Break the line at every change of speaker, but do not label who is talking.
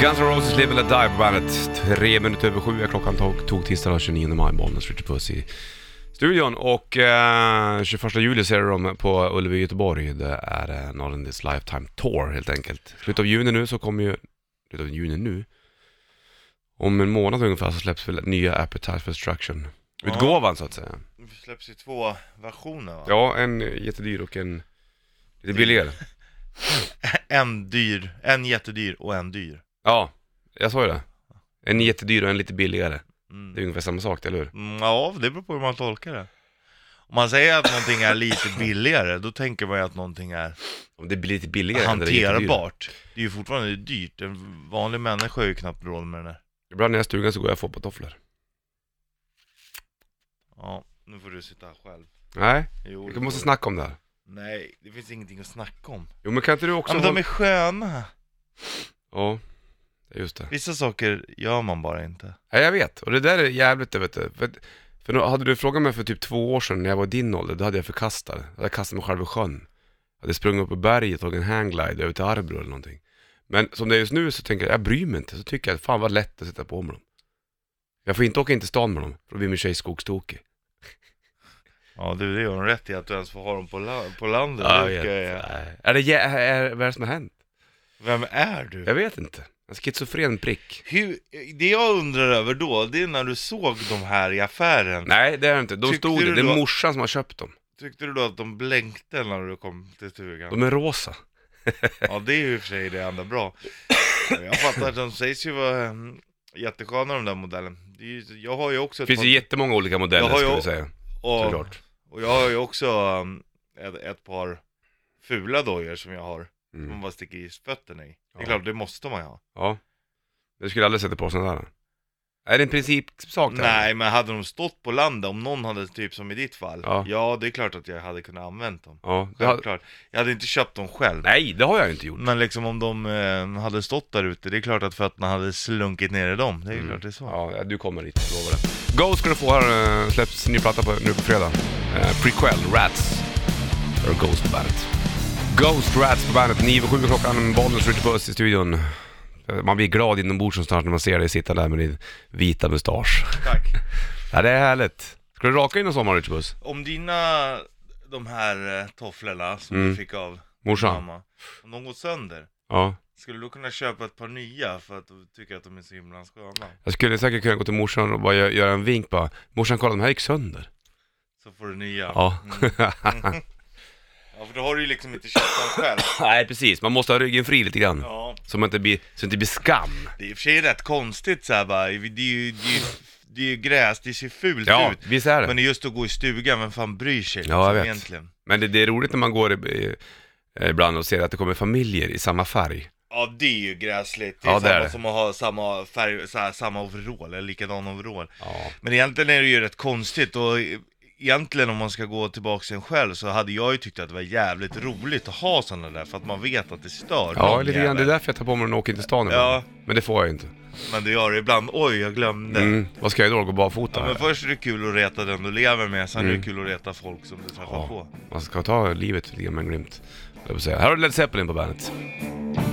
Guns N' Roses Live and Die på bandet. Tre minuter över sju är klockan tog, tog tisdag den 29 maj, Bollnäs Ritchie Puss i studion. Och eh, 21 juli ser du dem på Ullevi i Göteborg. Det är eh, Not In This Lifetime Tour helt enkelt. Slutet av juni nu så kommer ju, slutet av juni nu, om en månad ungefär så släpps väl nya Appetite for Destruction.
Ja.
Utgåvan så att säga.
Det släpps ju två versioner va?
Ja, en jättedyr och en lite billigare.
En dyr, en jättedyr och en dyr
Ja, jag sa ju det. En jättedyr och en lite billigare.
mm.
Det är ungefär samma sak, eller hur?
Mm, Ja, det beror på hur man tolkar det Om man säger att någonting är lite billigare, då tänker man ju att någonting är
Om det blir lite billigare än det är jättedyrt.
hanterbart Det är ju fortfarande dyrt, en vanlig människa har ju knappt råd med det där
Ibland när jag är i stugan så går jag och får på tofflor.
Ja, nu får du sitta här själv
Nej,
jo,
vi
det
måste
får-
snacka om det här.
Nej, det finns ingenting att snacka om
Jo men kan inte du också...
Ja men de
hålla-
är sköna!
Ja, just det.
Vissa saker gör man bara inte
Nej jag vet, och det där är jävligt det vet du. För, för nu, hade du frågat mig för typ två år sedan när jag var i din ålder, då hade jag förkastat det. Då hade jag kastat mig själv i sjön. Jag hade sprungit upp på berget, tagit en hangglide över till Arbro eller någonting. Men som det är just nu så tänker jag, jag bryr mig inte. Så tycker jag, fan vad lätt att sätta på med dem. Jag får inte åka in till stan med dem, för då blir min tjej skogstokig.
Ja du, det gör de rätt i att du ens får ha dem på, la- på landet
Ja,
Det
jag
brukar
vet.
jag-
Nej. Är det, jä- är, vad är det som har hänt?
Vem är du?
Jag vet inte. En schizofren prick.
Hur, det jag undrar över då, det är när du såg de här i affären
Nej, det är det inte. De
Tyckte
stod
du
det. Det är
då-
morsan som har köpt dem.
Tyckte du då att de blänkte när du kom till stugan?
De är rosa.
Ja det är ju i och för sig det andra bra Jag fattar att de sägs ju vara mm, jättesköna de där modellen det är ju, Jag har ju också
Det
ett
finns ju
par,
jättemånga olika modeller
Jag har ju-
skulle jag säga.
och,
Såklart.
och jag har ju också mm, ett, ett par fula dojor som jag har Som
Mm.
bara sticker i fötterna i Det är
Ja.
klart, det måste man ju ha
Ja. Jag skulle aldrig sätta på sådana där. Är det en principsak det här?
Nej men hade de stått på landet, om någon hade typ som i ditt fall
Ja.
Ja, det är klart att jag hade kunnat använt dem
Ja, det har...
Självklart. Jag hade inte köpt dem själv.
Nej, det har jag ju inte gjort.
Men liksom om de eh, hade stått där ute, det är klart att fötterna hade slunkit ner i dem. Det är ju klart det är så.
Mm. Ja, du kommer dit, jag lovar det. Go ska du få här, eh, släpps ny platta på, nu på fredag. Eh, prequel, Rats. Eller Ghost på bandet. Ghost Rats på bandet, 9 och 7 klockan, Bollnäs Ritchie Puss i studion. Eh, Man blir glad inombords så snart när man ser dig sitta där med din vita mustasch.
Tack.
Ja, det är härligt. Ska du raka in i sommar Ritchie Puss?
Om dina, de här eh, tofflorna som
Mm.
du fick av
Morsan?
mamma, om de går sönder,
Ja.
skulle du kunna köpa ett par nya för att du tycker att de är så himla sköna?
Jag skulle säkert kunna gå till morsan och bara gö- göra en vink bara. Morsan kolla, de här gick sönder.
Så får du nya.
Ja.
Mm. ja, för då har du ju liksom inte köpt dem själv.
Nej precis, man måste ha ryggen fri lite grann.
Ja.
Så man inte blir, så det inte blir skam.
Det är i och för sig rätt konstigt så här, bara, det är ju, det är ju, det är ju gräs, det ser fult
Ja,
ut.
visst är det.
Men just att gå i stugan, vem fan bryr sig? liksom
Ja, jag vet.
Egentligen?
Men det, det är roligt när man går i- eh, ibland och ser att det kommer familjer i samma färg.
Ja, det är ju gräsligt. Det är
Ja, det
samma
är det.
som att ha samma färg, så här, samma overall, eller likadan overall.
Ja.
Men egentligen är det ju rätt konstigt och e- egentligen om man ska gå tillbaka till en själv så hade jag ju tyckt att det var jävligt roligt att ha sådana där för att man vet att det stör
Ja,
någon
lite grann. Det är
jävel.
därför jag tar på mig den och åker in till stan
Ja.
ibland. Men det får jag ju inte.
Men du gör det ibland, oj jag glömde.
Mm. Vad ska jag då? Gå
Ja,
barfota?
men först är det kul att reta den du lever med, sen
Mm.
är det kul att reta folk som du träffar på.
Man ska ta livet lite grann med en glimt, höll jag på att säga. Här har du Led Zeppelin på bandet.